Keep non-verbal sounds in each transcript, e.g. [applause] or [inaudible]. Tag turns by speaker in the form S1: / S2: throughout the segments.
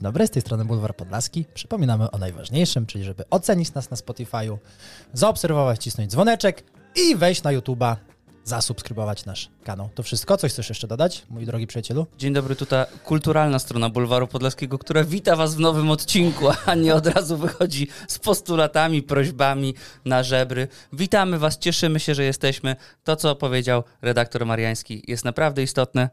S1: dobry, z tej strony Bulwar Podlaski. Przypominamy o najważniejszym, czyli żeby ocenić nas na Spotify'u, zaobserwować, cisnąć dzwoneczek i wejść na YouTube'a, zasubskrybować nasz kanał. To wszystko. Coś chcesz jeszcze dodać, mój drogi przyjacielu?
S2: Dzień dobry, tutaj kulturalna strona Bulwaru Podlaskiego, która wita Was w nowym odcinku, a nie od razu wychodzi z postulatami, prośbami na żebry. Witamy Was, cieszymy się, że jesteśmy. To, co powiedział redaktor Mariański, jest naprawdę istotne.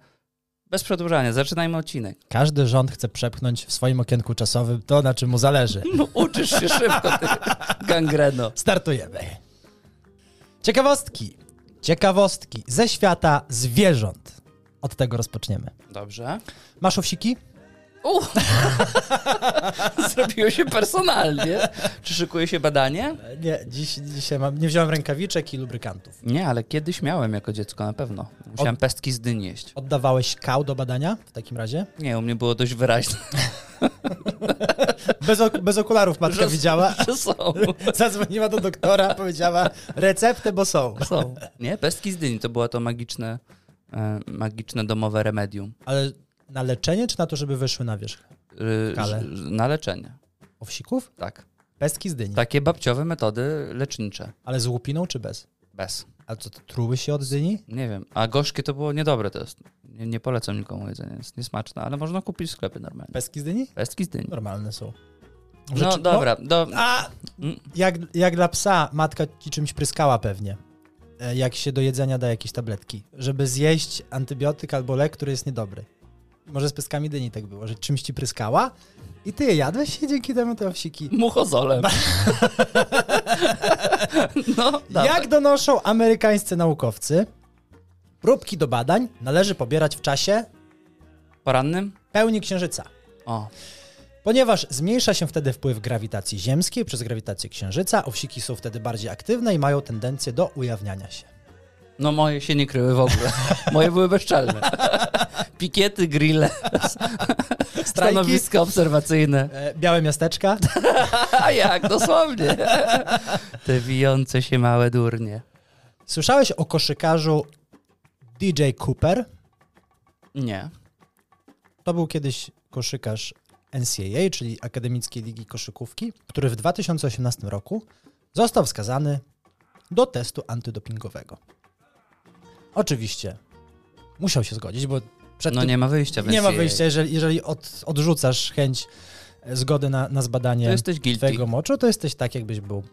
S2: Bez przedłużania, zaczynajmy odcinek.
S1: Każdy rząd chce przepchnąć w swoim okienku czasowym to, na czym mu zależy.
S2: No, uczysz się szybko, ty gangreno.
S1: Startujemy. Ciekawostki. Ciekawostki ze świata zwierząt. Od tego rozpoczniemy.
S2: Dobrze.
S1: Masz owsiki?
S2: U. [laughs] Zrobiło się personalnie. Czy szykuje się badanie?
S1: E, Nie, dziś, dzisiaj mam, nie wziąłem rękawiczek i lubrykantów.
S2: Nie, ale kiedyś miałem jako dziecko na pewno. Musiałem pestki z dyni jeść.
S1: Oddawałeś kał do badania w takim razie?
S2: Nie, u mnie było dość wyraźne, [laughs]
S1: Bez, ok- bez okularów matka
S2: Że-
S1: widziała. [laughs]
S2: że są.
S1: Zadzwoniła do doktora, powiedziała receptę, bo są.
S2: są. Nie, pestki z dyni to było to magiczne, e, magiczne domowe remedium.
S1: Ale na leczenie czy na to, żeby wyszły na wierzch?
S2: Y,
S1: Kale.
S2: ż- ż- Na leczenie,
S1: Owsików?
S2: tak.
S1: Pestki z dyni.
S2: Takie babciowe metody lecznicze.
S1: Ale z łupiną czy bez?
S2: Bez.
S1: A co, to truły się od dyni?
S2: Nie wiem. A gorzkie to było niedobre to jest. Nie, nie polecam nikomu jedzenia, jest niesmaczne, ale można kupić w sklepie normalnie.
S1: Pestki z dyni?
S2: Pestki z dyni.
S1: Normalne są. W
S2: No
S1: rzeczy-
S2: dobra, do,
S1: A!
S2: Mm.
S1: Jak, jak dla psa, matka ci czymś pryskała pewnie. E, Jak się do jedzenia da jakieś tabletki, żeby zjeść antybiotyk albo lek, który jest niedobry. Może z pyskami dyni tak było, że czymś ci pryskała i ty je jadłeś i dzięki temu te owsiki. [laughs]
S2: muchozolem. no, dawaj.
S1: Jak donoszą amerykańscy naukowcy, próbki do badań należy pobierać w czasie
S2: Porannym?
S1: pełni księżyca.
S2: O,
S1: Ponieważ zmniejsza się wtedy wpływ grawitacji ziemskiej przez grawitację księżyca, owsiki są wtedy bardziej aktywne i mają tendencję do ujawniania się.
S2: No moje się nie kryły w ogóle. Moje były bezczelne. Pikiety, grille, stanowiska obserwacyjne.
S1: E, Białe miasteczka.
S2: A jak, dosłownie. Te wijące się małe durnie.
S1: Słyszałeś o koszykarzu DJ Cooper?
S2: Nie.
S1: To był kiedyś koszykarz NCAA, czyli Akademickiej Ligi Koszykówki, który w 2018 roku został wskazany do testu antydopingowego. Oczywiście musiał się zgodzić, bo przed
S2: No
S1: tym
S2: nie ma wyjścia. więc
S1: nie ma
S2: jej.
S1: wyjścia, jeżeli, jeżeli od, odrzucasz chęć e, zgody na, na
S2: To
S1: zbadanie
S2: jesteś guilty.
S1: twojego moczu, to jesteś tak, jakbyś był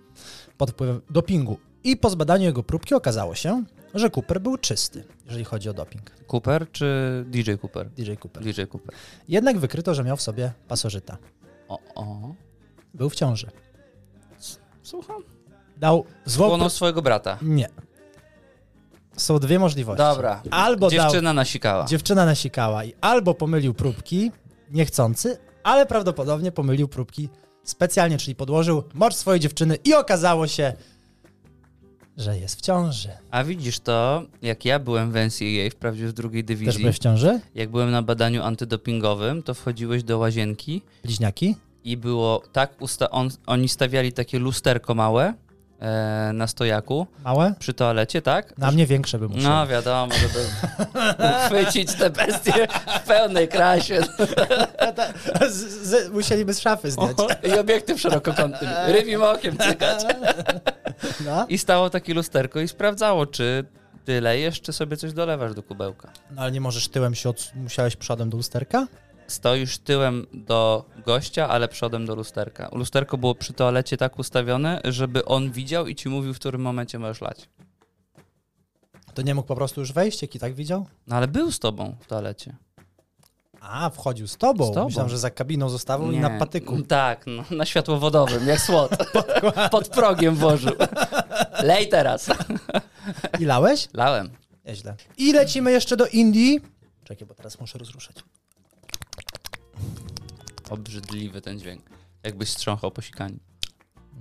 S1: pod wpływem dopingu. I po zbadaniu jego próbki okazało się, że Cooper był czysty, jeżeli chodzi o doping.
S2: Cooper czy DJ Cooper?
S1: DJ Cooper.
S2: DJ Cooper.
S1: Jednak wykryto, że miał w sobie pasożyta.
S2: O, o.
S1: Był w ciąży.
S2: Słucham.
S1: Dał złą...
S2: Płonął swojego brata.
S1: pró- Nie. Są dwie możliwości.
S2: Dobra.
S1: Albo dał...
S2: Dziewczyna nasikała.
S1: Dziewczyna nasikała i albo pomylił próbki, niechcący, ale prawdopodobnie pomylił próbki specjalnie, czyli podłożył mocz swojej dziewczyny i okazało się, że jest w ciąży.
S2: A widzisz to, jak ja byłem w NCAA, wprawdzie w drugiej
S1: Też
S2: dywizji,
S1: byłeś w ciąży?
S2: jak byłem na badaniu antydopingowym, to wchodziłeś do łazienki
S1: Bliźniaki?
S2: i było tak, usta- on, oni stawiali takie lusterko małe e, na stojaku
S1: Małe?
S2: przy toalecie, tak?
S1: Na mnie większe by musiały.
S2: No wiadomo, żeby uchwycić te bestie w pełnej krasie No.
S1: [laughs] Z, z, musieliby z szafy zdjąć.
S2: i obiektyw szerokokątny, rybim okiem cykać.
S1: No.
S2: I stało takie lusterko i sprawdzało, czy ty lejesz, czy sobie coś dolewasz do kubełka.
S1: no ale nie możesz tyłem się od... musiałeś przodem do lusterka?
S2: Stoisz tyłem do gościa, ale przodem do lusterka. Lusterko było przy toalecie tak ustawione, żeby on widział i ci mówił, w którym momencie możesz lać.
S1: To nie mógł po prostu już wejść, jak i tak widział?
S2: No ale był z tobą w toalecie.
S1: A, wchodził z tobą.
S2: Z tobą.
S1: Myślałem, że za kabiną zostawał i
S2: Nie.
S1: na
S2: [laughs]
S1: patyku.
S2: Tak, no, na światłowodowym,
S1: [laughs]
S2: jak słod. [laughs] Pod progiem włożył. Lej teraz.
S1: I lałeś?
S2: Lałem.
S1: Nieźle. I lecimy jeszcze do Indii. Czekaj, bo teraz muszę rozruszać.
S2: Obrzydliwy ten dźwięk. Jakbyś strząchał po sikaniu.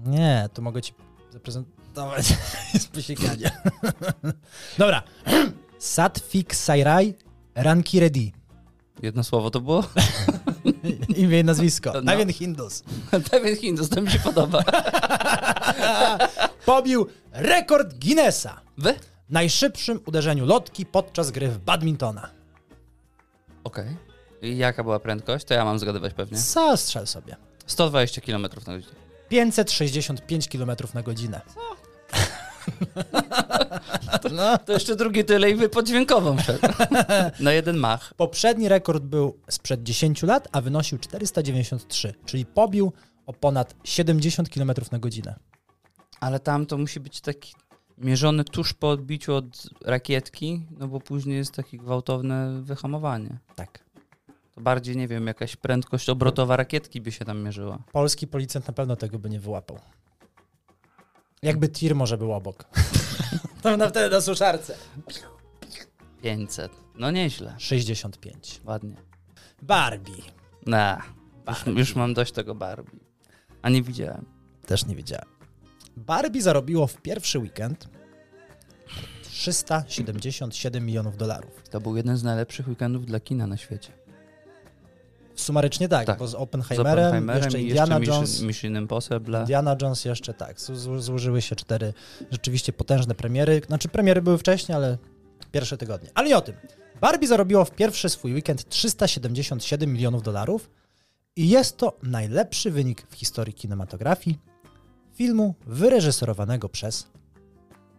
S1: Nie, to mogę ci zaprezentować [laughs] z posiekania. [laughs] Dobra. [clears throat] Satwik Sairaj Ranki Reddy.
S2: Jedno słowo to było? [laughs]
S1: Imię i nazwisko.
S2: No.
S1: Pewien Hindus.
S2: Pewien Hindus, to mi się podoba.
S1: Pobił rekord Guinnessa
S2: Wy?
S1: w najszybszym uderzeniu lotki podczas gry w badmintona.
S2: Okej. I Jaka była prędkość? To ja mam zgadywać pewnie.
S1: Zastrzel sobie.
S2: 120 km na godzinę.
S1: 565 km na godzinę. Co? no.
S2: To jeszcze drugi tyle i wy podźwiękową szedł. na No jeden mach.
S1: Poprzedni rekord był sprzed 10 lat, a wynosił 493, czyli pobił o ponad 70 km na godzinę.
S2: Ale tam to musi być taki mierzony tuż po odbiciu od rakietki, no bo później jest takie gwałtowne wyhamowanie.
S1: Tak.
S2: To bardziej, nie wiem, jakaś prędkość obrotowa rakietki by się tam mierzyła.
S1: Polski policjant na pewno tego by nie wyłapał. Jakby tir może był obok. [laughs] Tam na wtedy na suszarce.
S2: 500. No nieźle.
S1: 65.
S2: Ładnie.
S1: Barbie.
S2: Na. Już, już mam dość tego Barbie. A nie widziałem.
S1: Też nie wiedziałem. Barbie zarobiło w pierwszy weekend 377 milionów dolarów.
S2: To był jeden z najlepszych weekendów dla kina na świecie.
S1: Sumarycznie tak,
S2: Tak.
S1: bo z
S2: Z
S1: Oppenheimerem,
S2: Oppenheimerem
S1: jeszcze
S2: i
S1: Indiana
S2: jeszcze
S1: Jones.
S2: Mission, Mission Impossible.
S1: Indiana Jones jeszcze tak. Zł- zł- Złożyły się cztery rzeczywiście potężne premiery. Znaczy premiery były wcześniej, ale pierwsze tygodnie. Ale nie o tym. Barbie zarobiło w pierwszy swój weekend 377 milionów dolarów i jest to najlepszy wynik w historii kinematografii filmu wyreżyserowanego przez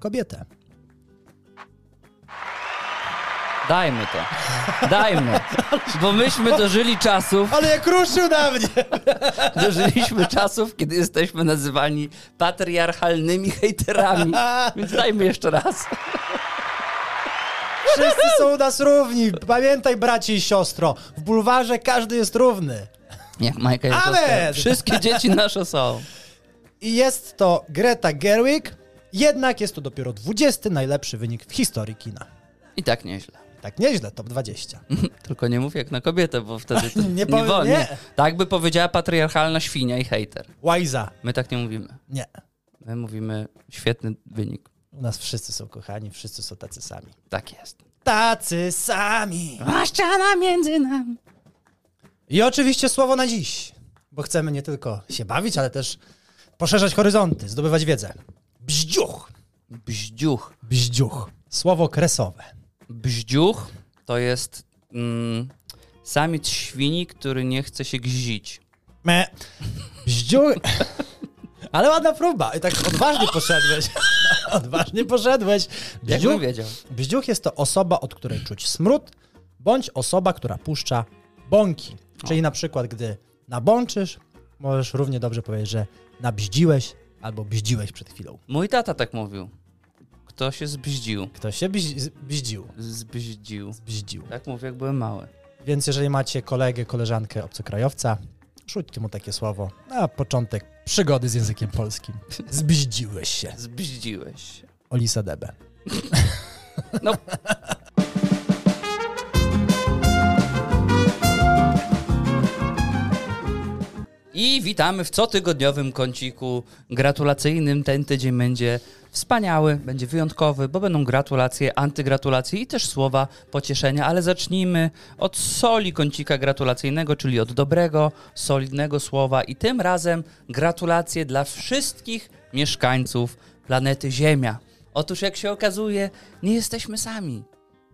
S1: kobietę.
S2: Dajmy to. Dajmy. Bo myśmy dożyli czasów,
S1: Ale jak ruszył na mnie!
S2: dożyliśmy czasów, kiedy jesteśmy nazywani patriarchalnymi hejterami. Więc dajmy jeszcze raz.
S1: Wszyscy są u nas równi. Pamiętaj, bracie i siostro, w bulwarze każdy jest równy.
S2: Jak Majka jest
S1: Amen!
S2: została. Wszystkie dzieci nasze są.
S1: I jest to Greta Gerwig, jednak jest to dopiero 20 najlepszy wynik w historii kina.
S2: I tak nieźle.
S1: Tak nieźle, top 20.
S2: [laughs] Tylko nie mów jak na kobietę, bo wtedy to
S1: Nie
S2: nie,
S1: powiem-
S2: wolno.
S1: nie.
S2: Tak by powiedziała patriarchalna świnia i hejter.
S1: Łajza.
S2: My tak nie mówimy.
S1: Nie.
S2: My mówimy świetny wynik.
S1: U nas wszyscy są kochani, wszyscy są tacy sami.
S2: Tak jest.
S1: Tacy sami.
S2: A ściana między nami.
S1: I oczywiście słowo na dziś, bo chcemy nie tylko się bawić, ale też poszerzać horyzonty, zdobywać wiedzę. Bździuch.
S2: Bździuch.
S1: Bździuch. Słowo kresowe.
S2: Bździuch to jest mm, samiec świni, który nie chce się gzić.
S1: Me. Bździuch. [laughs] Ale ładna próba. I tak odważnie poszedłeś. [laughs] Odważnie poszedłeś.
S2: Jakbym wiedział.
S1: Bździuch jest to osoba, od której czuć smród, bądź osoba, która puszcza bąki. Czyli na przykład, gdy nabączysz, możesz równie dobrze powiedzieć, że nabździłeś albo bździłeś przed chwilą.
S2: Mój tata tak mówił. Kto się zbździł?
S1: Ktoś się bździ- z- bździł.
S2: Zbździł.
S1: Bździł.
S2: Tak mówię, jak byłem mały.
S1: Więc jeżeli macie kolegę, koleżankę obcokrajowca, rzućcie mu takie słowo na początek przygody z językiem polskim. Zbździłeś się.
S2: Zbździłeś się.
S1: Olisa Debe.
S2: No. I witamy w cotygodniowym kąciku gratulacyjnym. Ten tydzień będzie wspaniały, będzie wyjątkowy, bo będą gratulacje, antygratulacje i też słowa pocieszenia. Ale zacznijmy od soli kącika gratulacyjnego, czyli od dobrego, solidnego słowa. I tym razem gratulacje dla wszystkich mieszkańców planety Ziemia. Otóż, jak się okazuje, nie jesteśmy sami.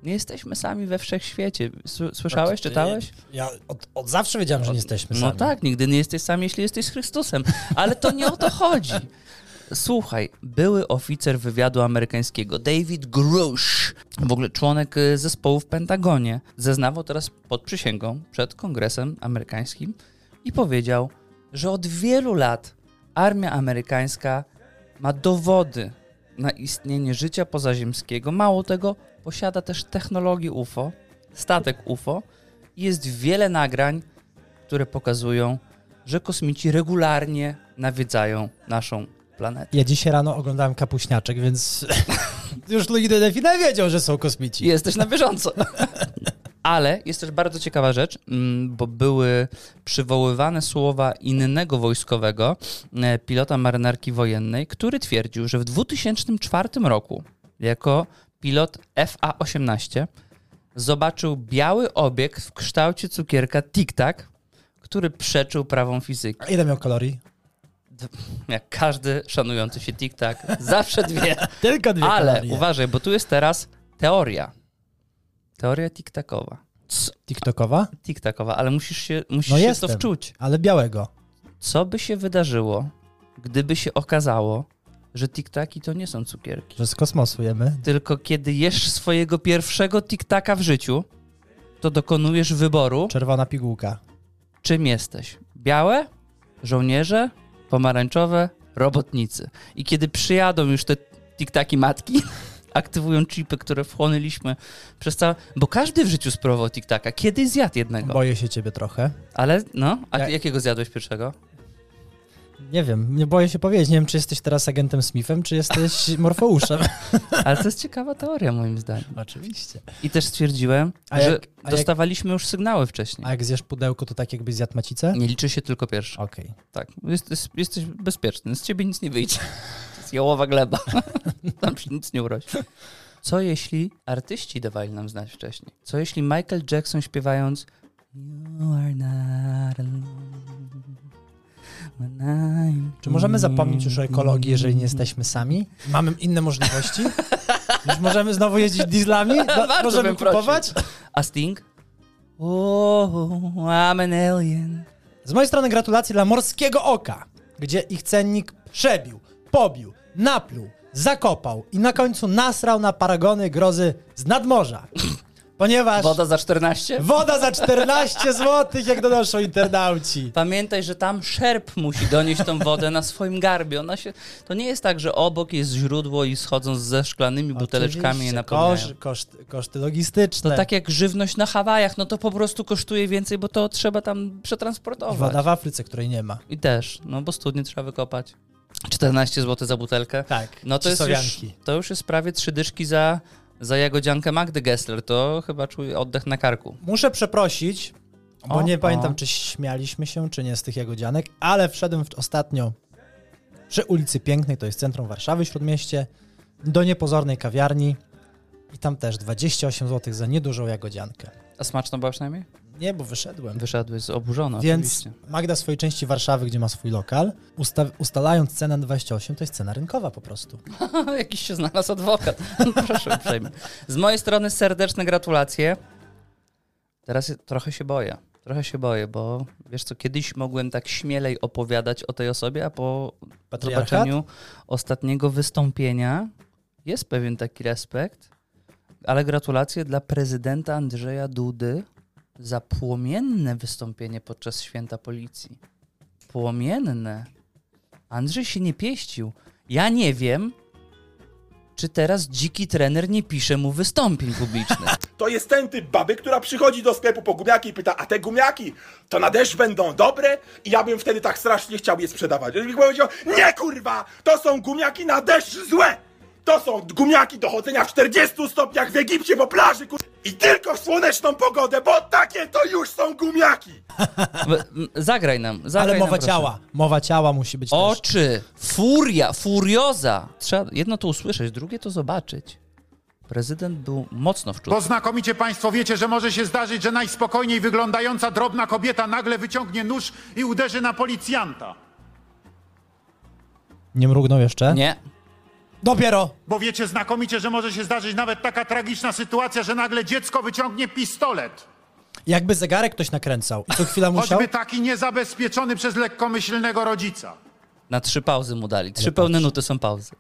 S2: Nie jesteśmy sami we wszechświecie. Sły-
S1: Znaczy,
S2: Słyszałeś, czytałeś?
S1: Ja od, od zawsze wiedziałem, że nie jesteśmy sami.
S2: No tak, nigdy nie jesteś sam, jeśli jesteś z Chrystusem. Ale to nie o to chodzi. Słuchaj, były oficer wywiadu amerykańskiego David Grush, w ogóle członek y, zespołu w Pentagonie, zeznawał teraz pod przysięgą przed Kongresem Amerykańskim i powiedział, że od wielu lat armia amerykańska ma dowody na istnienie życia pozaziemskiego. Mało tego, posiada też technologię UFO, statek UFO i jest wiele nagrań które pokazują, że kosmici regularnie nawiedzają naszą planetę.
S1: Ja dzisiaj rano oglądałem kapuśniaczek, więc [laughs] już ludzie Delfina wiedział, że są kosmici.
S2: Jesteś na bieżąco. [laughs] Ale jest też bardzo ciekawa rzecz, mm, bo były przywoływane słowa innego wojskowego, e, pilota marynarki wojennej, który twierdził, że w 2004 roku jako pilot FA-18 zobaczył biały obiekt w kształcie cukierka Tic Tac, który przeczył prawą fizyki.
S1: A Ile miał kalorii?
S2: Jak każdy szanujący się TikTok,
S1: [laughs]
S2: zawsze dwie.
S1: Tylko dwie
S2: Ale
S1: kalorie.
S2: uważaj, bo tu jest teraz teoria. Teoria TikTokowa. c-
S1: TikTokowa,
S2: tiktakowa, ale musisz się, musisz
S1: No
S2: się w to
S1: jestem.
S2: wczuć.
S1: ale białego.
S2: Co by się wydarzyło, gdyby się okazało, że tiktaki to nie są cukierki?
S1: Że z kosmosu jemy.
S2: Tylko kiedy jesz swojego pierwszego tiktaka w życiu, to dokonujesz wyboru,
S1: Czerwona pigułka.
S2: czym jesteś. Białe, żołnierze, pomarańczowe, robotnicy. I kiedy przyjadą już te tiktaki matki, [laughs] aktywują chipy, które wchłonęliśmy przez całe... Bo każdy w życiu spróbował tiktaka. Kiedyś zjadł jednego.
S1: Boję się ciebie trochę.
S2: Ale no, a
S1: Jak-
S2: jakiego zjadłeś pierwszego?
S1: Nie wiem, nie boję się powiedzieć. Nie wiem, czy jesteś teraz agentem Smithem, czy
S2: [laughs]
S1: jesteś morfouszem.
S2: Ale to jest ciekawa teoria moim zdaniem.
S1: Oczywiście.
S2: I też stwierdziłem,
S1: A
S2: że
S1: jak- a jak-
S2: dostawaliśmy już sygnały wcześniej.
S1: A jak zjesz pudełko, to tak jakbyś zjadł macicę?
S2: Nie liczy się tylko pierwszy.
S1: Okej.
S2: Tak. Jesteś, jesteś bezpieczny. Z ciebie nic nie wyjdzie. To jest jałowa gleba. [laughs] Tam się nic nie urośnie. Co jeśli artyści dawali nam znać wcześniej? Co jeśli Michael Jackson śpiewając You are not alone when I'm
S1: Czy możemy zapomnieć już o ekologii, jeżeli nie
S2: here?
S1: jesteśmy sami? Mamy inne
S2: [laughs]
S1: możliwości? Już możemy znowu jeździć dieslami? No,
S2: Bardzo
S1: możemy
S2: bym prosił.
S1: kupować?
S2: A Sting? Oh, I'm an alien.
S1: Z mojej strony gratulacje dla Morskiego Oka, gdzie ich cennik przebił, pobił, napluł, zakopał i na końcu nasrał na paragony grozy z nadmorza. Ponieważ woda,
S2: Woda za 14?
S1: za 14 zł, jak donoszą internauci.
S2: Pamiętaj, że tam szerp musi donieść tą wodę na swoim garbie. Ona się, to nie jest tak, że obok jest źródło i schodząc ze szklanymi buteleczkami je
S1: Oczywiście,
S2: napełniają.
S1: kosz- koszt, koszty logistyczne.
S2: To tak jak żywność na Hawajach, no to po prostu kosztuje więcej, bo to trzeba tam
S1: I
S2: przetransportować.
S1: woda w Afryce, której nie ma.
S2: I też, no bo studnie trzeba wykopać. 14 zł za butelkę.
S1: Tak,
S2: No to
S1: ci
S2: jest, już,
S1: Słowianki.
S2: to już jest prawie trzy dyszki za, za jagodziankę Magdy Gessler. To chyba czuję oddech na karku.
S1: Muszę przeprosić, bo
S2: O,
S1: nie
S2: o.
S1: pamiętam, czy śmialiśmy się, czy nie z tych jagodzianek, ale wszedłem w, ostatnio przy ulicy Pięknej, to jest centrum Warszawy, Śródmieście, do niepozornej kawiarni i tam też 28 zł za niedużą jagodziankę.
S2: A smaczna była przynajmniej?
S1: Nie, bo wyszedłem.
S2: Wyszedłeś z oburzona
S1: Więc
S2: No, oczywiście.
S1: Magda w swojej części Warszawy, gdzie ma swój lokal, usta ustalając cenę na 28, to jest cena rynkowa po prostu.
S2: [laughs] Jakiś się znalazł adwokat. [laughs] Proszę uprzejmie. Z mojej strony serdeczne gratulacje. Teraz trochę się boję. Trochę się boję, bo wiesz co, kiedyś mogłem tak śmielej opowiadać o tej osobie, a po
S1: Patriarchat?
S2: zobaczeniu ostatniego wystąpienia jest pewien taki respekt. Ale gratulacje dla prezydenta Andrzeja Dudy za płomienne wystąpienie podczas święta policji. Płomienne. Andrzej się nie pieścił. Ja nie wiem, czy teraz dziki trener nie pisze mu wystąpień publicznych.
S3: To jest ten typ baby, która przychodzi do sklepu po gumiaki i pyta, a te gumiaki to na deszcz będą dobre? I ja bym wtedy tak strasznie chciał je sprzedawać. Żeby mi powiedział, nie kurwa, to są gumiaki na deszcz złe! To są gumiaki do chodzenia w 40 stopniach w Egipcie po plaży, kur... I tylko w słoneczną pogodę, bo takie to już są gumiaki!
S2: W- m, Zagraj nam, zagraj
S1: Ale
S2: nam,
S1: mowa
S2: no, proszę.
S1: ciała, mowa ciała musi być też.
S2: Oczy, furia, furioza. Trzeba jedno to usłyszeć, drugie to zobaczyć. Prezydent był mocno
S4: Bo
S2: wczuty.
S4: znakomicie Państwo wiecie, że może się zdarzyć, że najspokojniej wyglądająca drobna kobieta nagle wyciągnie nóż i uderzy na policjanta.
S1: Nie mrugnął jeszcze?
S2: Nie.
S1: Dopiero!
S4: Bo wiecie znakomicie, że może się zdarzyć nawet taka tragiczna sytuacja, że nagle dziecko wyciągnie pistolet.
S1: Jakby zegarek ktoś nakręcał i co chwila musiał...
S4: Choćby taki niezabezpieczony przez lekkomyślnego rodzica.
S2: Na trzy pauzy mu dali. Trzy pełne nuty są pauzy.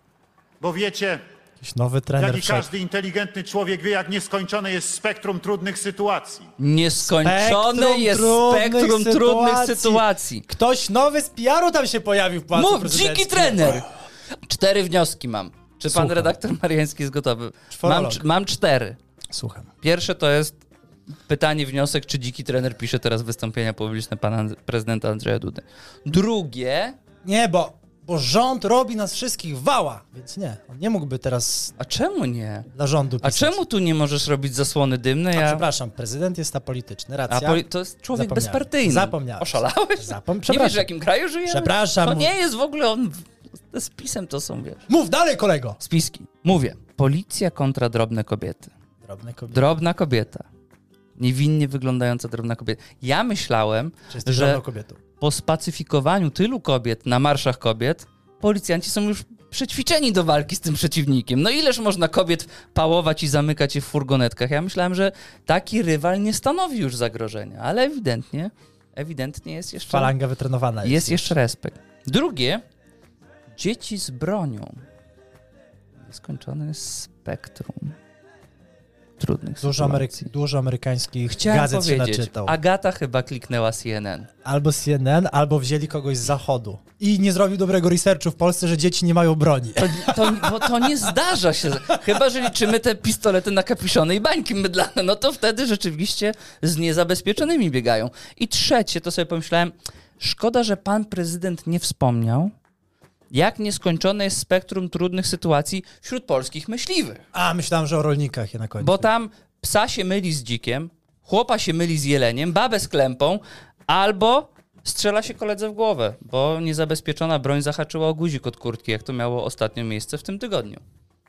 S4: Bo wiecie,
S1: Jakiś nowy
S4: jak
S1: trener
S4: i
S1: wszedł.
S4: każdy inteligentny człowiek wie, jak nieskończone jest spektrum trudnych sytuacji.
S2: Nieskończone
S1: Spektrum
S2: jest
S1: trudnych
S2: spektrum trudnych
S1: sytuacji.
S2: sytuacji.
S1: Ktoś nowy z PR-u tam się pojawił w Pałacu
S2: Mów,
S1: Prezydenckim.
S2: dziki trener! Cztery wnioski mam. Czy pan
S1: Słucham.
S2: redaktor Mariański jest gotowy? Mam,
S1: Czworolog.
S2: cz- mam cztery.
S1: Słucham.
S2: Pierwsze to jest pytanie, wniosek, czy dziki trener pisze teraz wystąpienia publiczne pana And- prezydenta Andrzeja Dudy. Drugie,
S1: Nie, bo, bo rząd robi nas wszystkich wała, więc nie. On nie mógłby teraz
S2: a czemu nie?
S1: dla rządu
S2: A
S1: pisać.
S2: czemu tu nie możesz robić zasłony dymnej?
S1: A,
S2: a-
S1: przepraszam, prezydent jest apolityczny,
S2: A
S1: racja.
S2: poli- to jest człowiek
S1: Zapomniałem.
S2: bezpartyjny.
S1: Zapomniałem.
S2: Oszalałeś?
S1: Zapom-
S2: nie
S1: przepraszam.
S2: wiesz, w jakim kraju żyjemy?
S1: Przepraszam.
S2: To nie jest w ogóle on... Z pisem to są, wiesz.
S1: Mów dalej, kolego!
S2: Spiski. Mówię. Policja kontra drobne kobiety.
S1: Drobne kobiety.
S2: Drobna kobieta. Niewinnie wyglądająca drobna kobieta. Ja myślałem,
S1: Czy jesteś
S2: że
S1: drobną kobietą?
S2: po spacyfikowaniu tylu kobiet na marszach kobiet, policjanci są już przećwiczeni do walki z tym przeciwnikiem. No ileż można kobiet pałować i zamykać je w furgonetkach? Ja myślałem, że taki rywal nie stanowi już zagrożenia, ale ewidentnie, ewidentnie jest jeszcze...
S1: Falanga wytrenowana jest.
S2: Jest jeszcze respekt. Drugie, dzieci z bronią. Nieskończone spektrum trudnych
S1: Dużo,
S2: sytuacji.
S1: Amery- dużo amerykańskich
S2: Chciałem
S1: gazet się
S2: powiedzieć,
S1: naczytał.
S2: Agata chyba kliknęła CNN.
S1: Albo CNN, albo wzięli kogoś z zachodu. I nie zrobił dobrego researchu w Polsce, że dzieci nie mają broni.
S2: To, to, bo to nie zdarza się. Chyba, że liczymy te pistolety na kapiszony i bańki mydlane, no to wtedy rzeczywiście z niezabezpieczonymi biegają. I trzecie, to sobie pomyślałem, szkoda, że pan prezydent nie wspomniał, jak nieskończone jest spektrum trudnych sytuacji wśród polskich myśliwych.
S1: A, myślałem, że o rolnikach je na końcu.
S2: Bo tam psa się myli z dzikiem, chłopa się myli z jeleniem, babę z klępą, albo strzela się koledze w głowę, bo niezabezpieczona broń zahaczyła o guzik od kurtki, jak to miało ostatnio miejsce w tym tygodniu.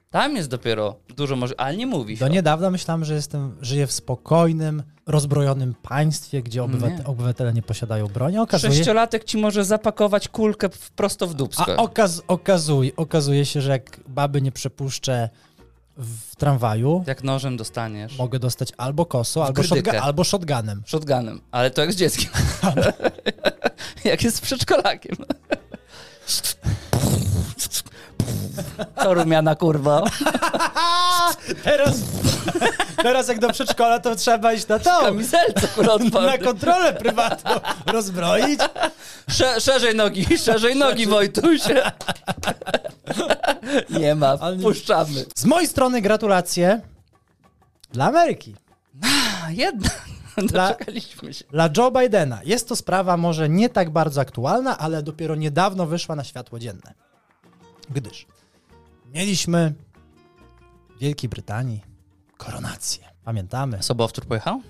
S2: Tam jest dopiero dużo może, ale nie mówi się.
S1: Do
S2: o-
S1: niedawna myślałem, że jestem, żyję w spokojnym, rozbrojonym państwie, gdzie obywat-
S2: Nie.
S1: obywatele nie posiadają broni. Okazuje,
S2: Sześciolatek ci może zapakować kulkę w- prosto w
S1: a
S2: dupskę.
S1: okaz, okazuj, okazuje się, że jak baby nie przepuszczę w tramwaju,
S2: Jak nożem dostaniesz.
S1: mogę dostać albo koso, albo,
S2: grydykę.
S1: shotga- albo shotgunem.
S2: Shotgunem, ale to jak z dzieckiem. [laughs] jak jest z przedszkolakiem. To rumiana kurwa.
S1: Teraz, [laughs] teraz jak do przedszkola, to trzeba iść na to,
S2: [laughs] Kamizelce akurat
S1: na
S2: pan.
S1: kontrolę prywatną, rozbroić.
S2: Sze, Szerzej nogi, [laughs] szerzej nogi Wojtuś. [laughs] Nie ma,
S1: Ale nie-
S2: puszczamy.
S1: Z mojej strony gratulacje dla Ameryki.
S2: A [laughs] jednak, doczekaliśmy się.
S1: Dla Joe Bidena jest to sprawa może nie tak bardzo aktualna, ale dopiero niedawno wyszła na światło dzienne. Gdyż mieliśmy w Wielkiej Brytanii koronację. Pamiętamy.
S2: Sobowtór pojechał?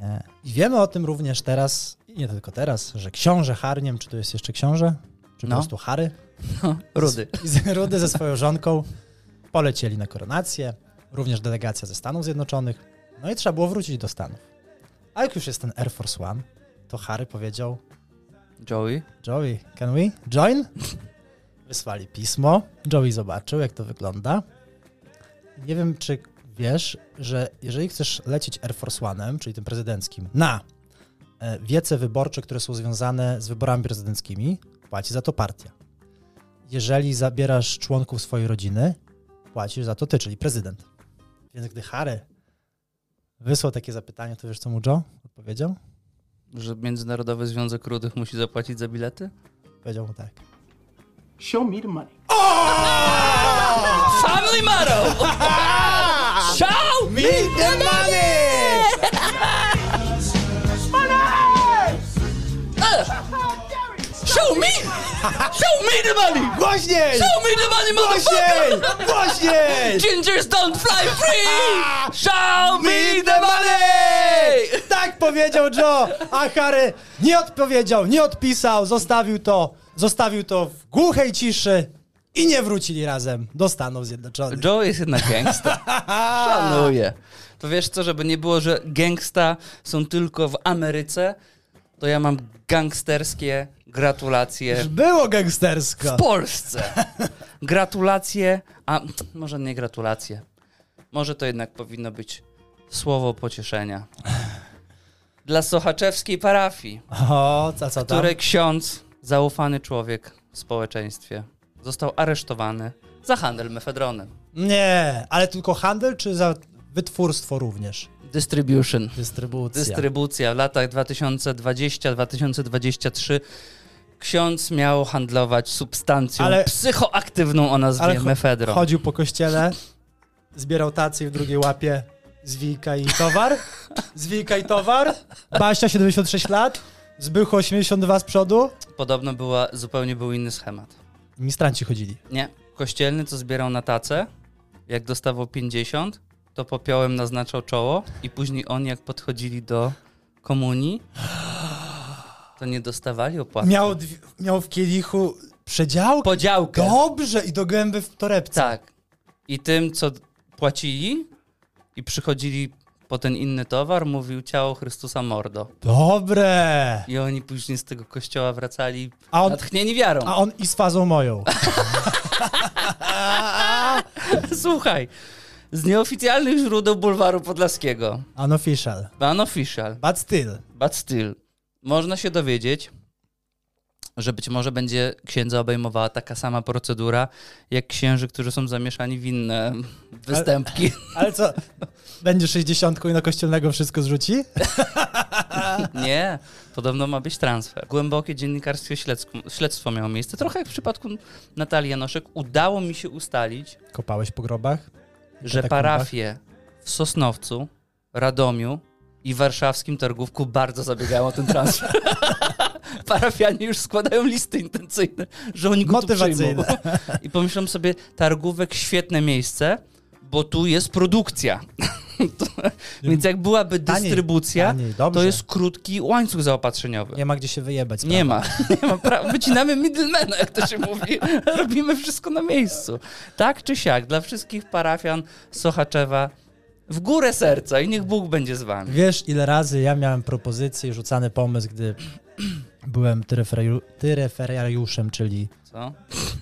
S1: Nie. I wiemy o tym również teraz, i nie tylko teraz, że książę Harniem, czy to jest jeszcze książę? Czy
S2: No.
S1: po prostu Harry?
S2: Rudy.
S1: I z- Rudy ze swoją żonką polecieli na koronację, również delegacja ze Stanów Zjednoczonych. No i trzeba było wrócić do Stanów. A jak już jest ten Air Force One, to Harry powiedział,
S2: Joey.
S1: Joey, can we join? Wysłali pismo. Joey zobaczył, jak to wygląda. Nie wiem, czy wiesz, że jeżeli chcesz lecieć Air Force One'em, czyli tym prezydenckim, na e, wiece wyborcze, które są związane z wyborami prezydenckimi, płaci za to partia. Jeżeli zabierasz członków swojej rodziny, płacisz za to ty, czyli prezydent. Więc gdy Harry wysłał takie zapytanie, to wiesz, co mu Joe odpowiedział?
S2: Że Międzynarodowy Związek Rudych musi zapłacić za bilety?
S1: Powiedział mu tak.
S5: Show me the money.
S2: Family Maro! Show me the money! Show me! Show me the money!
S1: Głośniej!
S2: Show me the money,
S1: Głośniej!
S2: motherfucker!
S1: Głośniej!
S2: Gingers don't fly [laughs] free! Show me the money!
S1: Tak powiedział Joe, a Harry nie odpowiedział, nie odpisał, zostawił to, zostawił to w głuchej ciszy i nie wrócili razem do Stanów Zjednoczonych.
S2: Joe jest jednak gangsta. Szanuję. To wiesz co, żeby nie było, że gangsta są tylko w Ameryce, to ja mam gangsterskie gratulacje
S1: Było
S2: w
S1: gangstersko.
S2: Polsce. Gratulacje, a może nie gratulacje. Może to jednak powinno być słowo pocieszenia. Dla sochaczewskiej parafii,
S1: O, co, co tam?
S2: której ksiądz, zaufany człowiek w społeczeństwie, został aresztowany za handel mefedronem.
S1: Nie, ale tylko handel czy za wytwórstwo również?
S2: Distribution.
S1: Dystrybucja.
S2: Dystrybucja w latach 2020-2023. Ksiądz miał handlować substancją
S1: Ale-
S2: psychoaktywną o nazwie
S1: cho-
S2: mefedron.
S1: chodził po kościele, zbierał tacę i w drugiej łapie zwika i towar. Zwika i towar. Basia 76 lat, Zbychu 82 z przodu.
S2: Podobno była, zupełnie był inny schemat.
S1: Ministranci chodzili.
S2: Nie. Kościelny, co zbierał na tacę, jak dostawał 50, to popiołem naznaczał czoło i później oni, jak podchodzili do komunii, to nie dostawali opłaty.
S1: Miał, dwie- miał w kielichu przedziałkę.
S2: Podziałkę.
S1: Dobrze i do gęby w torebce.
S2: Tak. I tym, co płacili i przychodzili po ten inny towar mówił ciało Chrystusa mordo.
S1: Dobre!
S2: I oni później z tego kościoła wracali
S1: A on-
S2: natchnieni wiarą.
S1: A on i z fazą moją.
S2: [laughs] Słuchaj, z nieoficjalnych źródeł bulwaru podlaskiego,
S1: Unofficial.
S2: unofficial,
S1: But still.
S2: but still, można się dowiedzieć, że być może będzie księdza obejmowała taka sama procedura, jak księży, którzy są zamieszani w inne występki.
S1: Ale co? Będzie 60 i na kościelnego wszystko zrzuci?
S2: Nie, podobno ma być transfer. Głębokie dziennikarskie śledztwo, śledztwo miało miejsce. Trochę jak w przypadku Natalii Janoszek udało mi się ustalić,
S1: Kopałeś po grobach?
S2: że
S1: Katakumbach?
S2: parafie w Sosnowcu, Radomiu i warszawskim Targówku bardzo zabiegają o ten transfer.
S1: [laughs]
S2: Parafianie już składają listy intencyjne, że oni go tu przyjmą.
S1: Motywacyjne.
S2: I pomyślałem sobie, Targówek świetne miejsce, bo tu jest produkcja. [laughs] To, więc jak byłaby
S1: Taniej,
S2: dystrybucja,
S1: taniej, dobrze.
S2: to jest krótki łańcuch zaopatrzeniowy.
S1: Nie ma gdzie się wyjebać.
S2: Nie ma, [laughs] nie ma prawa. Wycinamy middlemana, jak to się mówi. [laughs] Robimy wszystko na miejscu. Tak czy siak, dla wszystkich parafian Sochaczewa w górę serca i niech Bóg będzie z wami.
S1: Wiesz, ile razy ja miałem propozycje i rzucany pomysł, gdy byłem tyreferariu- tyreferariuszem, czyli
S2: Co?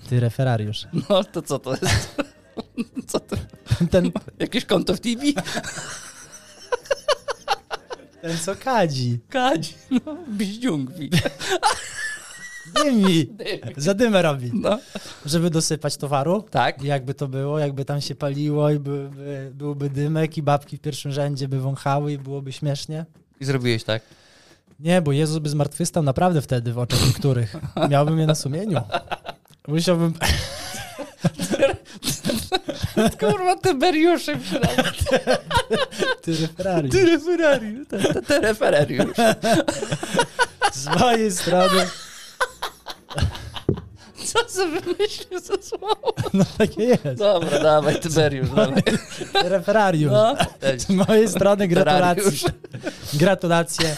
S1: tyreferariusz.
S2: No to co to jest? [laughs] Co to?
S1: Ten,
S2: Jakieś konto w TV? [laughs]
S1: ten co kadzi.
S2: Kadzi, no, bździungwi.
S1: Dymi. Za dymę robi.
S2: [laughs] No.
S1: Żeby dosypać towaru.
S2: Tak.
S1: I Jakby to było, jakby tam się paliło i byłby, byłby dymek i babki w pierwszym rzędzie by wąchały i byłoby śmiesznie.
S2: I zrobiłeś tak. [laughs]
S1: Nie, bo Jezus by zmartwychwstał naprawdę wtedy w oczach niektórych. Miałbym je na sumieniu. Musiałbym...
S2: Kurwa, Tyberiusze przynajmniej.
S1: Tyreferariusz.
S2: Tereferariusz. Tereferariusz.
S1: Z mojej strony
S2: Co sobie myślisz za słowo?
S1: no takie jest.
S2: Dobra, dawaj, Tyberiusz, dawaj.
S1: Tyreferariusz.
S2: No.
S1: Z mojej strony
S2: Ferrariusz.
S1: gratulacje. Gratulacje.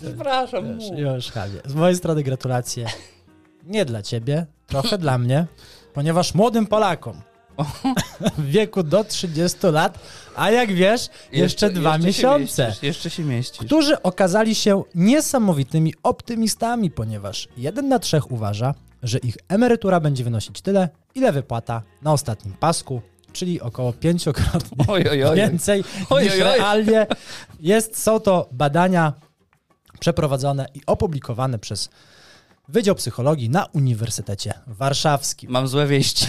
S2: Przepraszam. mów.
S1: Już, Javier. Z mojej strony gratulacje. Nie dla ciebie, trochę dla mnie, ponieważ młodym Polakom w wieku do 30 lat, a jak wiesz, jeszcze, dwa
S2: jeszcze się
S1: miesiące.
S2: mieścisz, jeszcze się mieścisz.
S1: którzy okazali się niesamowitymi optymistami, ponieważ jeden na trzech uważa, że ich emerytura będzie wynosić tyle, ile wypłata na ostatnim pasku, czyli około pięciokrotnie
S2: Oj, oj, oj.
S1: więcej
S2: Oj,
S1: niż
S2: oj, oj.
S1: realnie. Jest, są to badania przeprowadzone i opublikowane przez Wydział Psychologii na Uniwersytecie Warszawskim.
S2: Mam złe [laughs] wieści.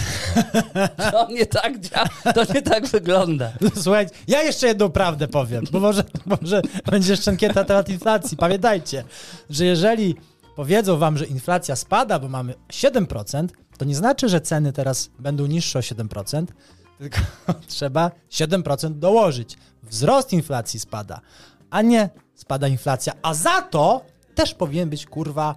S2: To nie tak dzia- to nie tak wygląda.
S1: [laughs] Słuchajcie, ja jeszcze jedną prawdę powiem, bo może, może będzie jeszcze ankieta na temat inflacji. Pamiętajcie, że jeżeli powiedzą wam, że inflacja spada, bo mamy 7%, to nie znaczy, że ceny teraz będą niższe o 7%, tylko [laughs] trzeba 7% dołożyć. Wzrost inflacji spada, a nie spada inflacja. A za to też powinien być, kurwa,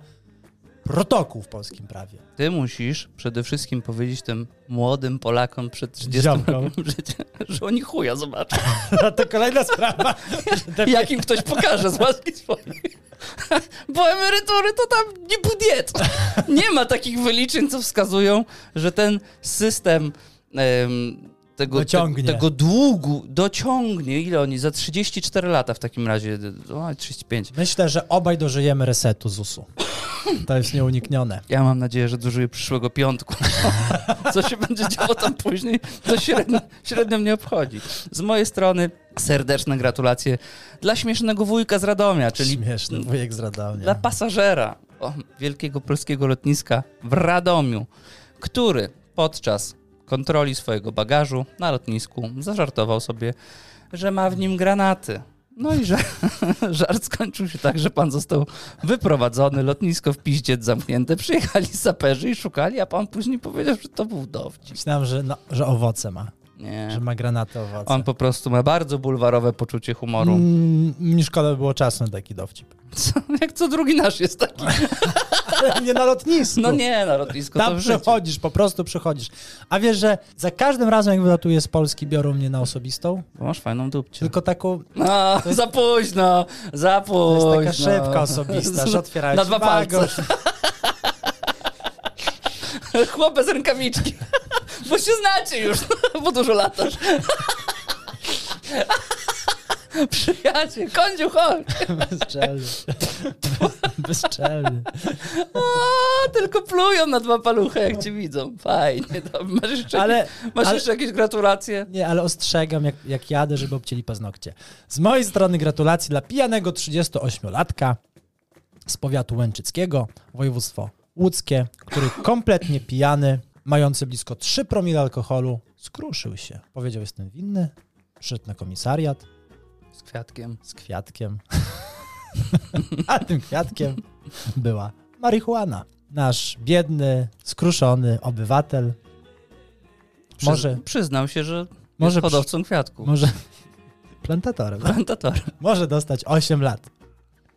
S1: protokół w polskim prawie. [laughs]
S2: Ty musisz przede wszystkim powiedzieć tym młodym Polakom przed 30
S1: Ziomkom.
S2: rokiem życia, że oni chuja zobaczą.
S1: No to kolejna sprawa.
S2: [laughs] Jak im ktoś pokaże z łaski swojej. [laughs] Bo emerytury to tam nie budiet. Nie ma takich wyliczeń, co wskazują, że ten system em, tego,
S1: Dociągnie.
S2: te, tego długu dociągnie. Ile oni? Za 34 lata w takim razie. O, 35.
S1: Myślę, że obaj dożyjemy resetu ZUS-u. To jest nieuniknione.
S2: Ja mam nadzieję, że dożyję przyszłego piątku. [laughs] Co się będzie działo tam później, to średnio, średnio mnie obchodzi. Z mojej strony serdeczne gratulacje dla śmiesznego wujka z Radomia, czyli
S1: Śmieszny wujek z Radomia.
S2: mm, dla pasażera o, wielkiego polskiego lotniska w Radomiu, który podczas kontroli swojego bagażu na lotnisku zażartował sobie, że ma w nim granaty. No i że, [laughs] żart skończył się tak, że pan został wyprowadzony, lotnisko w piździec zamknięte, przyjechali saperzy i szukali, a pan później powiedział, że to był dowcip.
S1: Myślałem, że, no, że owoce ma,
S2: Nie.
S1: że ma granaty owoce.
S2: On po prostu ma bardzo bulwarowe poczucie humoru.
S1: Mm, mi szkoda by było czasu na taki dowcip.
S2: Co, jak co drugi nasz jest taki.
S1: nie na lotnisku.
S2: No nie, na lotnisku to
S1: Tam
S2: w życiu.
S1: przychodzisz, po prostu przychodzisz. A wiesz, że za każdym razem, jak wylatuję z Polski, biorą mnie na osobistą?
S2: Bo Masz fajną dupcię.
S1: Tylko taką,
S2: No, za późno, za późno.
S1: to jest taka szybka osobista,
S2: [laughs]
S1: że otwierałeś
S2: no. Na dwa
S1: [laughs]
S2: [laughs] palce.
S1: bagaż.
S2: Chłopę z rękawiczki. [laughs] Bo się znacie już, [laughs] bo dużo latasz. [laughs] Przyjaciel, kądziu, chodź.
S1: Bezczelny. Bezczelny.
S2: O, tylko plują na dwa paluchy, jak cię widzą. Fajnie, to masz jeszcze,
S1: Ale-
S2: jakieś, masz
S1: ale-
S2: jeszcze jakieś gratulacje?
S1: Nie, ale ostrzegam, jak, jak jadę, żeby obcięli paznokcie. Z mojej strony gratulacje dla pijanego 38-latka z powiatu łęczyckiego, województwo łódzkie, który kompletnie pijany, mający blisko 3 promile alkoholu, skruszył się. Powiedział, jestem winny, przyszedł na komisariat
S2: Z kwiatkiem.
S1: z kwiatkiem. [laughs] A tym kwiatkiem była marihuana. Nasz biedny, skruszony obywatel.
S2: Przyz-
S1: Może,
S2: Przyznał się, że
S1: Może
S2: może
S1: przy-
S2: jest hodowcą kwiatków.
S1: może plantatorem.
S2: Plantatorem.
S1: może dostać 8 lat.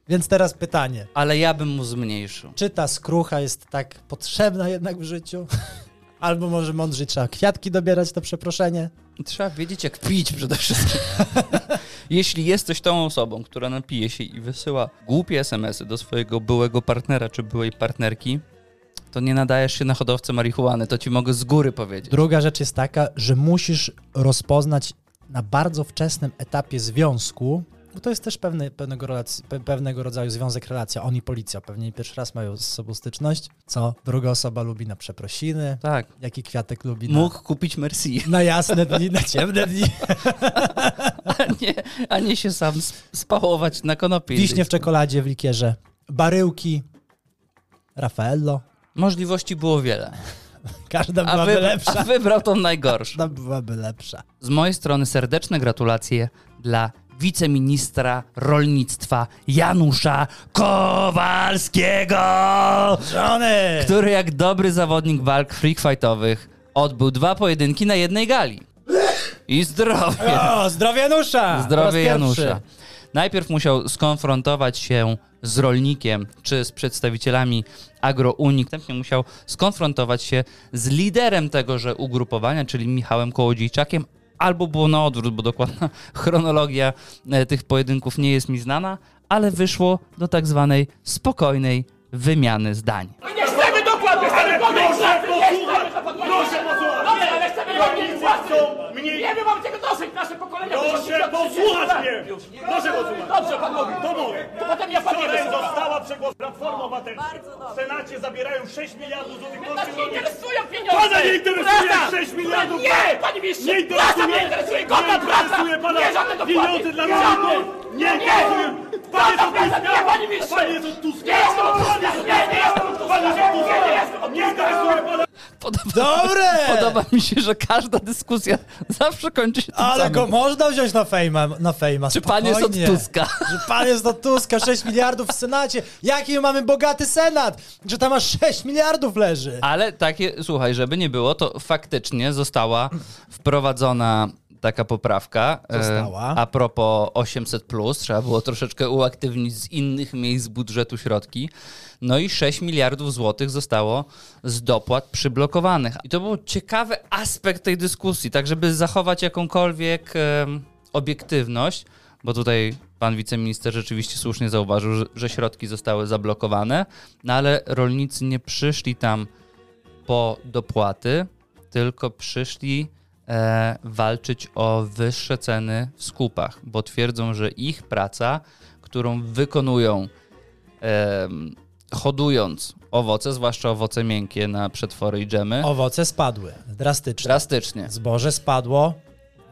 S1: Więc teraz pytanie,
S2: Ale ja bym mu zmniejszył.
S1: czy ta skrucha jest tak potrzebna jednak w życiu? [laughs] Albo może mądrzej trzeba kwiatki dobierać na przeproszenie?
S2: Trzeba wiedzieć, jak pić przede wszystkim. [laughs] Jeśli jesteś tą osobą, która napije się i wysyła głupie SMS-y do swojego byłego partnera czy byłej partnerki, to nie nadajesz się na hodowcę marihuany. To ci mogę z góry powiedzieć.
S1: Druga rzecz jest taka, że musisz rozpoznać na bardzo wczesnym etapie związku, bo to jest też pewne, pewnego, relacji, pe, pewnego rodzaju związek, relacja, on i policja, pewnie pierwszy raz mają ze sobą styczność, co druga osoba lubi na przeprosiny,
S2: Tak.
S1: jaki kwiatek lubi na,
S2: Mógł kupić Merci,
S1: na jasne dni, na [laughs] ciemne dni.
S2: [laughs] a nie, a nie się sam sp- spałować na konopie.
S1: Wiśnie w czekoladzie, w likierze, baryłki, Raffaello.
S2: Możliwości było wiele.
S1: Każda
S2: A,
S1: byłaby
S2: wy, a
S1: lepsza.
S2: wybrał tą najgorszą.
S1: Każda byłaby lepsza.
S2: Z mojej strony serdeczne gratulacje dla wiceministra rolnictwa Janusza Kowalskiego,
S1: Żony!
S2: który jak dobry zawodnik walk freak fightowych odbył dwa pojedynki na jednej gali. I zdrowie.
S1: O, zdrowie Janusza! Po
S2: Zdrowie
S1: raz pierwszy.
S2: Janusza. Najpierw musiał skonfrontować się z rolnikiem czy z przedstawicielami agrounii. Następnie musiał skonfrontować się z liderem tegoże ugrupowania, czyli Michałem Kołodziejczakiem, albo było na odwrót, bo dokładna [laughs] chronologia e, tych pojedynków nie jest mi znana, ale wyszło do tak zwanej spokojnej wymiany zdań.
S6: My nie chcemy dokładnych ale proszę posłuchać! Proszę posłuchać! Dobrze, ale chcemy robić własną! Wiemy, mam tego dosyć, nasze pokolenia...
S7: Proszę posłuchać mnie! Proszę posłuchać!
S6: Dobrze, pan mówi.
S7: To mówię.
S6: To potem ja panu
S7: Wczoraj
S6: będę
S7: została przegłosowana Platforma Obywatelska. W Senacie zabierają 6 miliardów złotych
S6: Nas nie
S7: kosztów.
S6: interesują pieniądze!
S7: Pana nie interesuje
S6: Praca!
S7: 6 miliardów!
S6: Nie, panie mistrzu!
S7: Nie
S6: Praca mnie
S7: interesuje!
S6: interesuje, godna praca!
S7: interesuje pana
S6: Nie, żadne dopłaty!
S7: pieniądze dla
S6: Żadne!
S7: rolników! Nie
S6: Nie.
S7: interesują! Pan jest
S6: Praca,
S7: od
S6: praca,
S7: Tuska!
S6: nie, panie mistrzu!
S7: Pan jest od Tuska!
S6: Nie jestem od Tuska!
S7: Pan jest
S6: Nie,
S7: od
S6: nie jestem od Tuska! Nie, nie jestem
S7: Tuska! Pan jest od Tuska!
S6: od
S7: Nie interesuje pana
S2: Podoba,
S1: Dobre!
S2: [laughs] podoba mi się, że każda dyskusja zawsze kończy się tym
S1: Ale
S2: samym.
S1: go można wziąć na fejma, na fejma
S2: Czy pan jest od
S1: spokojnie.
S2: Tuska?
S1: Że pan jest od Tuska, 6 miliardów w Senacie. Jaki my mamy bogaty Senat, że tam aż 6 miliardów leży.
S2: Ale takie, słuchaj, żeby nie było, to faktycznie została wprowadzona taka poprawka. E,
S1: Została.
S2: A propos 800, trzeba było troszeczkę uaktywnić z innych miejsc budżetu środki. No i 6 miliardów złotych zostało z dopłat przyblokowanych. I to był ciekawy aspekt tej dyskusji, tak żeby zachować jakąkolwiek em, obiektywność, bo tutaj pan wiceminister rzeczywiście słusznie zauważył, że, że środki zostały zablokowane, no ale rolnicy nie przyszli tam po dopłaty, tylko przyszli e, walczyć o wyższe ceny w skupach, bo twierdzą, że ich praca, którą wykonują em, hodując owoce, zwłaszcza owoce miękkie na przetwory i dżemy,
S1: Owoce spadły drastycznie.
S2: drastycznie.
S1: Zboże spadło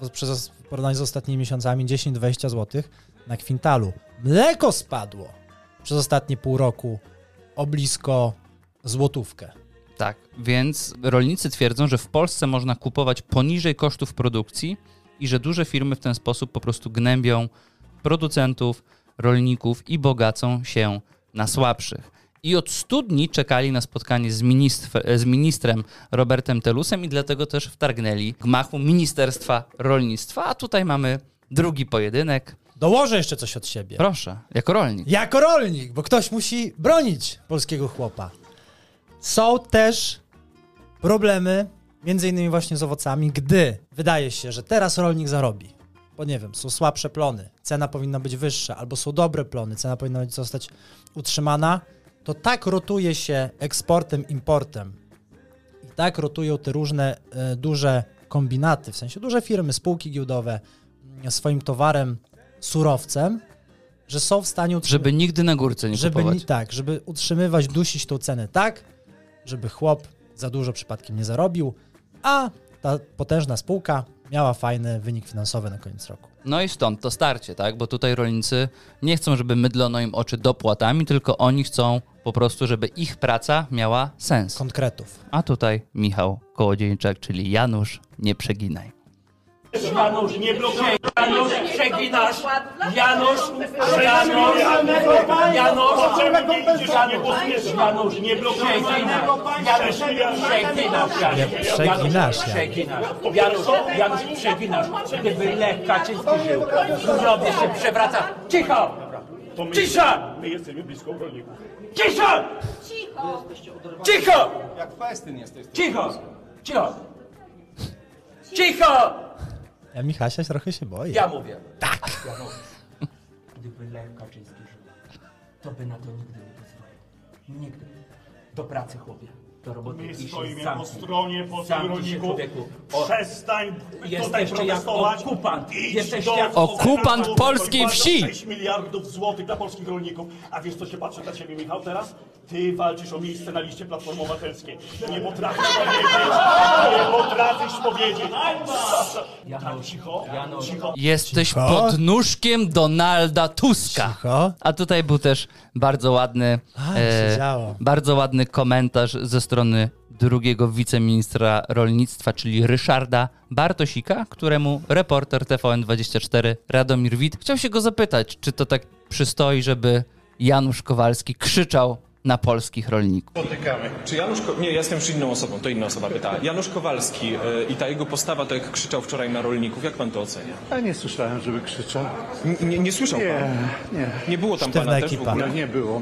S1: bo przez, w porównaniu z ostatnimi miesiącami 10-20 zł na kwintalu. Mleko spadło przez ostatnie pół roku o blisko złotówkę.
S2: Tak, więc rolnicy twierdzą, że w Polsce można kupować poniżej kosztów produkcji i że duże firmy w ten sposób po prostu gnębią producentów, rolników i bogacą się na słabszych. I od studni czekali na spotkanie z, ministr, z ministrem Robertem Telusem i dlatego też wtargnęli gmachu Ministerstwa Rolnictwa. A tutaj mamy drugi
S1: Tak.
S2: pojedynek.
S1: Dołożę jeszcze coś od siebie.
S2: Proszę, jako rolnik.
S1: Jako rolnik, bo ktoś musi bronić polskiego chłopa. Są też problemy, między innymi właśnie z owocami, gdy wydaje się, że teraz rolnik zarobi. Bo nie wiem, są słabsze plony, cena powinna być wyższa, albo są dobre plony, cena powinna być- zostać utrzymana. To tak rotuje się eksportem, importem I tak rotują te różne e, duże kombinaty, w sensie duże firmy, spółki giełdowe m, swoim towarem, surowcem, że są w stanie utrzymywać
S2: Żeby nigdy na górce nie
S1: żeby
S2: kupować.
S1: ni- tak, żeby utrzymywać, dusić tą cenę tak, żeby chłop za dużo przypadkiem nie zarobił, a ta potężna spółka miała fajny wynik finansowy na koniec roku.
S2: No i stąd to starcie, tak? Bo tutaj rolnicy nie chcą, żeby mydlono im oczy dopłatami, tylko oni chcą po prostu, żeby ich praca miała sens.
S1: Konkretów.
S2: A tutaj Michał Kołodziejczak, czyli Janusz, nie przeginaj.
S7: Janusz, nie blokuj. Janusz, przeginasz. Janusz, Janusz, Janusz, czemu nie idziesz, a nie głosujesz? Janusz, nie blokuj. Janusz, przeginasz.
S1: Nie przeginasz, Jan.
S7: Janusz, Janusz, przeginasz. Gdyby Lech Kaczyński żył, zrobię się przewraca. Cicho! Cisza!
S3: My jesteśmy blisko rolników.
S7: Cisza! Cicho! Cicho! Jak festyn jesteś. Cicho! Cicho! Cicho!
S1: Ja Michasia trochę się boję.
S7: Ja mówię. Tak! Gdyby Lech Kaczyński żył, to by na to nigdy nie pozwolił. Nigdy. Do pracy chłopie. Do roboty
S8: My
S7: i się
S8: stoimy po
S7: zamknij.
S8: stronie polskich
S7: Zamknij się,
S8: rolników.
S7: człowieku. O,
S8: Przestań tutaj
S7: Jesteś jak
S8: protestować.
S7: okupant.
S8: Idź
S7: Jesteś
S8: do
S7: jak
S2: Okupant
S8: Senatu,
S2: polskiej
S8: który płaci
S2: wsi.
S8: 6 miliardów złotych dla polskich rolników. A wiesz, co się patrzy na ciebie, Michał, teraz? Ty walczysz o miejsce na liście Platformy Obywatelskiej. Nie potrafisz powiedzieć. Nie potrafisz powiedzieć. Tak, cicho, cicho.
S2: Jesteś
S1: Cicho.
S2: pod nóżkiem Donalda Tuska.
S1: Cicho.
S2: A tutaj był też bardzo ładny, e,
S1: A, się działo.
S2: bardzo ładny komentarz ze strony drugiego wiceministra rolnictwa, czyli Ryszarda Bartosika, któremu reporter TVN24 Radomir Wit chciał się go zapytać, czy to tak przystoi, żeby Janusz Kowalski krzyczał na polskich rolników.
S9: Czy Janusz... Ko- nie, ja jestem już inną osobą, to inna osoba pyta. Janusz Kowalski e, i ta jego postawa, to jak krzyczał wczoraj na rolników, jak pan to ocenia?
S10: Ja nie słyszałem, żeby krzyczał.
S9: N- nie, nie słyszał pan?
S10: Nie, nie,
S9: Nie było tam
S1: Sztywna
S9: pana też
S1: ekipa.
S9: w ogóle?
S10: nie było.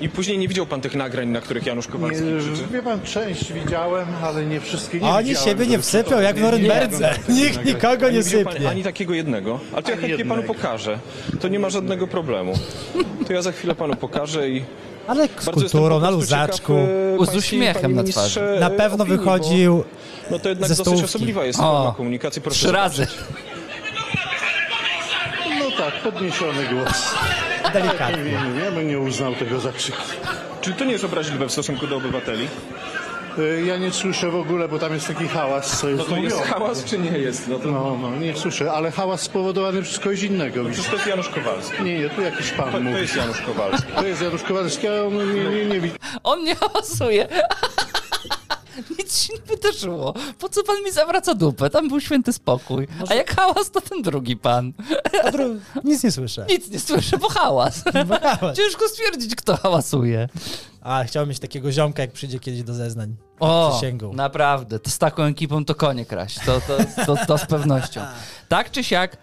S9: I później nie widział pan tych nagrań, na których Janusz
S10: Nie, e,
S9: Kowalski krzyczy?
S10: wie pan, część widziałem, ale nie wszystkie nie
S1: Oni
S10: widziałem,
S1: siebie nie
S10: żeby
S1: wsypią
S10: krzyczał.
S1: jak w Norymberdze. [laughs] Nikt nikogo nie
S9: widział pan
S1: sypnie.
S9: ani takiego jednego, ale to ja
S10: Ani
S9: chętnie panu
S10: jednego.
S9: pokażę. To nie ma żadnego problemu. To ja za chwilę panu pokażę i...
S1: Ale z
S9: Bardzo jestem
S1: kulturą,
S9: po
S1: na
S9: prostu
S1: luzaczku.
S9: ciekaw, e,
S2: Z
S9: pańskiej,
S2: uśmiechem
S9: panie
S2: na twarzy.
S9: ministrze,
S1: Na
S9: e,
S1: pewno
S9: opinii, bo-
S1: wychodził
S9: No to jednak
S1: ze
S9: dosyć
S1: stołówki.
S9: osobliwa jest
S2: O,
S9: forma komunikacji. Proszę
S2: trzy razy.
S10: No tak, podniesiony głos.
S1: delikatnie.
S8: [laughs]
S10: Nie, nie, ja bym nie uznał tego za krzyk.
S9: Czy to nie jest obraźliwe w stosunku do obywateli?
S10: Y, Ja nie słyszę w ogóle, bo tam jest taki hałas, co jest
S9: No to jest
S10: mówione.
S9: hałas, czy nie jest? No to...
S10: No, no, nie słyszę, ale hałas spowodowany przez kogoś innego.
S9: Przecież to jest Janusz Kowalski.
S10: Nie, nie, tu jakiś pan
S9: To, to
S10: mówi.
S9: jest Janusz Kowalski.
S10: To jest Janusz Kowalski, a on nie, nie, nie widzi.
S2: On mnie [laughs] hałasuje. Nic się nie wydarzyło. Po co pan mi zawraca dupę? Tam był święty spokój. A jak hałas, to ten drugi pan.
S1: A dru- Nic nie słyszę.
S2: Nic nie słyszę, bo hałas.
S1: hałas.
S2: Ciężko stwierdzić, kto hałasuje.
S1: [laughs] A, chciałbym mieć takiego ziomka, jak przyjdzie kiedyś do zeznań.
S2: O,
S1: Przysięgą.
S2: naprawdę. To z taką ekipą to konie kraść. To, to, to, to z pewnością. Tak czy siak,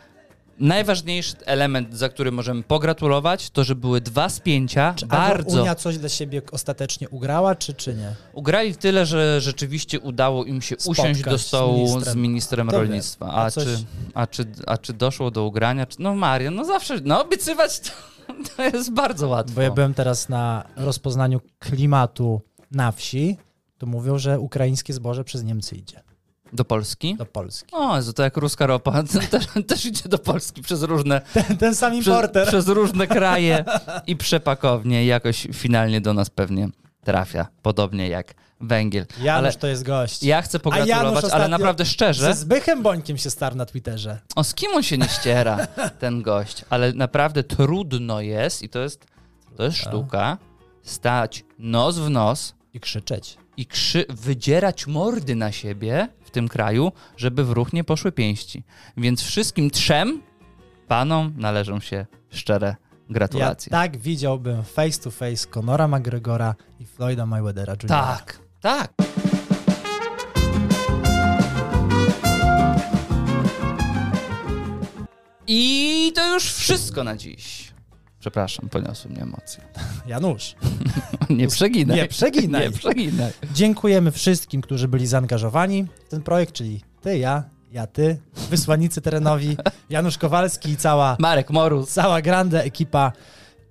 S2: najważniejszy element, za który możemy pogratulować, to, że były dwa spięcia
S1: A
S2: bardzo
S1: Unia coś dla siebie ostatecznie ugrała, czy, czy nie?
S2: Ugrali tyle, że rzeczywiście udało im się usiąść
S1: Spotkać
S2: do stołu
S1: z
S2: z
S1: ministrem.
S2: ministrem,
S1: To wiem.
S2: rolnictwa.
S1: A
S2: A,
S1: coś-
S2: czy, a, czy, a czy doszło do ugrania? Czy, no Marian, no zawsze, no obiecywać to, [laughs] to jest bardzo łatwo.
S1: Bo ja byłem teraz na rozpoznaniu klimatu na wsi, to mówią, że ukraińskie zboże przez Niemcy idzie
S2: Do Polski?
S1: do Polski.
S2: O, Jezu, to jak ruska ropa, [laughs] to też, też idzie do Polski przez różne,
S1: Ten sam
S2: przez,
S1: importer.
S2: przez różne kraje i przepakownie jakoś finalnie do nas pewnie trafia, podobnie jak węgiel.
S1: Janusz
S2: ale
S1: to jest gość.
S2: ja chcę pogratulować, ale
S1: ostatnio
S2: naprawdę szczerze.
S1: Ze Zbychem Bońkiem się starł na Twitterze.
S2: O, z kim on się nie ściera, ten gość? Ale naprawdę trudno jest, i to jest, to jest sztuka, stać nos w nos
S1: I krzyczeć.
S2: i krzy- wydzierać mordy na siebie w tym kraju, żeby w ruch nie poszły pięści. Więc wszystkim trzem panom należą się szczere
S1: Ja
S2: gratulacje.
S1: tak widziałbym face to face Conora McGregora i Floyda Mayweathera Jr.
S2: tak, tak. I to już wszystko na dziś. Przepraszam, poniosły mnie emocje.
S1: Janusz.
S2: [laughs] Nie przeginaj.
S1: Nie przeginaj.
S2: [laughs] Nie przeginaj.
S1: Dziękujemy wszystkim, którzy byli zaangażowani w ten projekt, czyli ty, ja, ja, ty, wysłannicy terenowi, Janusz Kowalski i cała,
S2: Marek Morus.
S1: cała grande ekipa.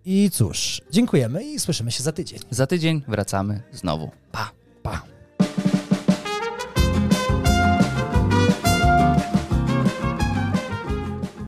S1: I cóż, dziękujemy i słyszymy się za tydzień.
S2: Za tydzień wracamy znowu. Pa, pa.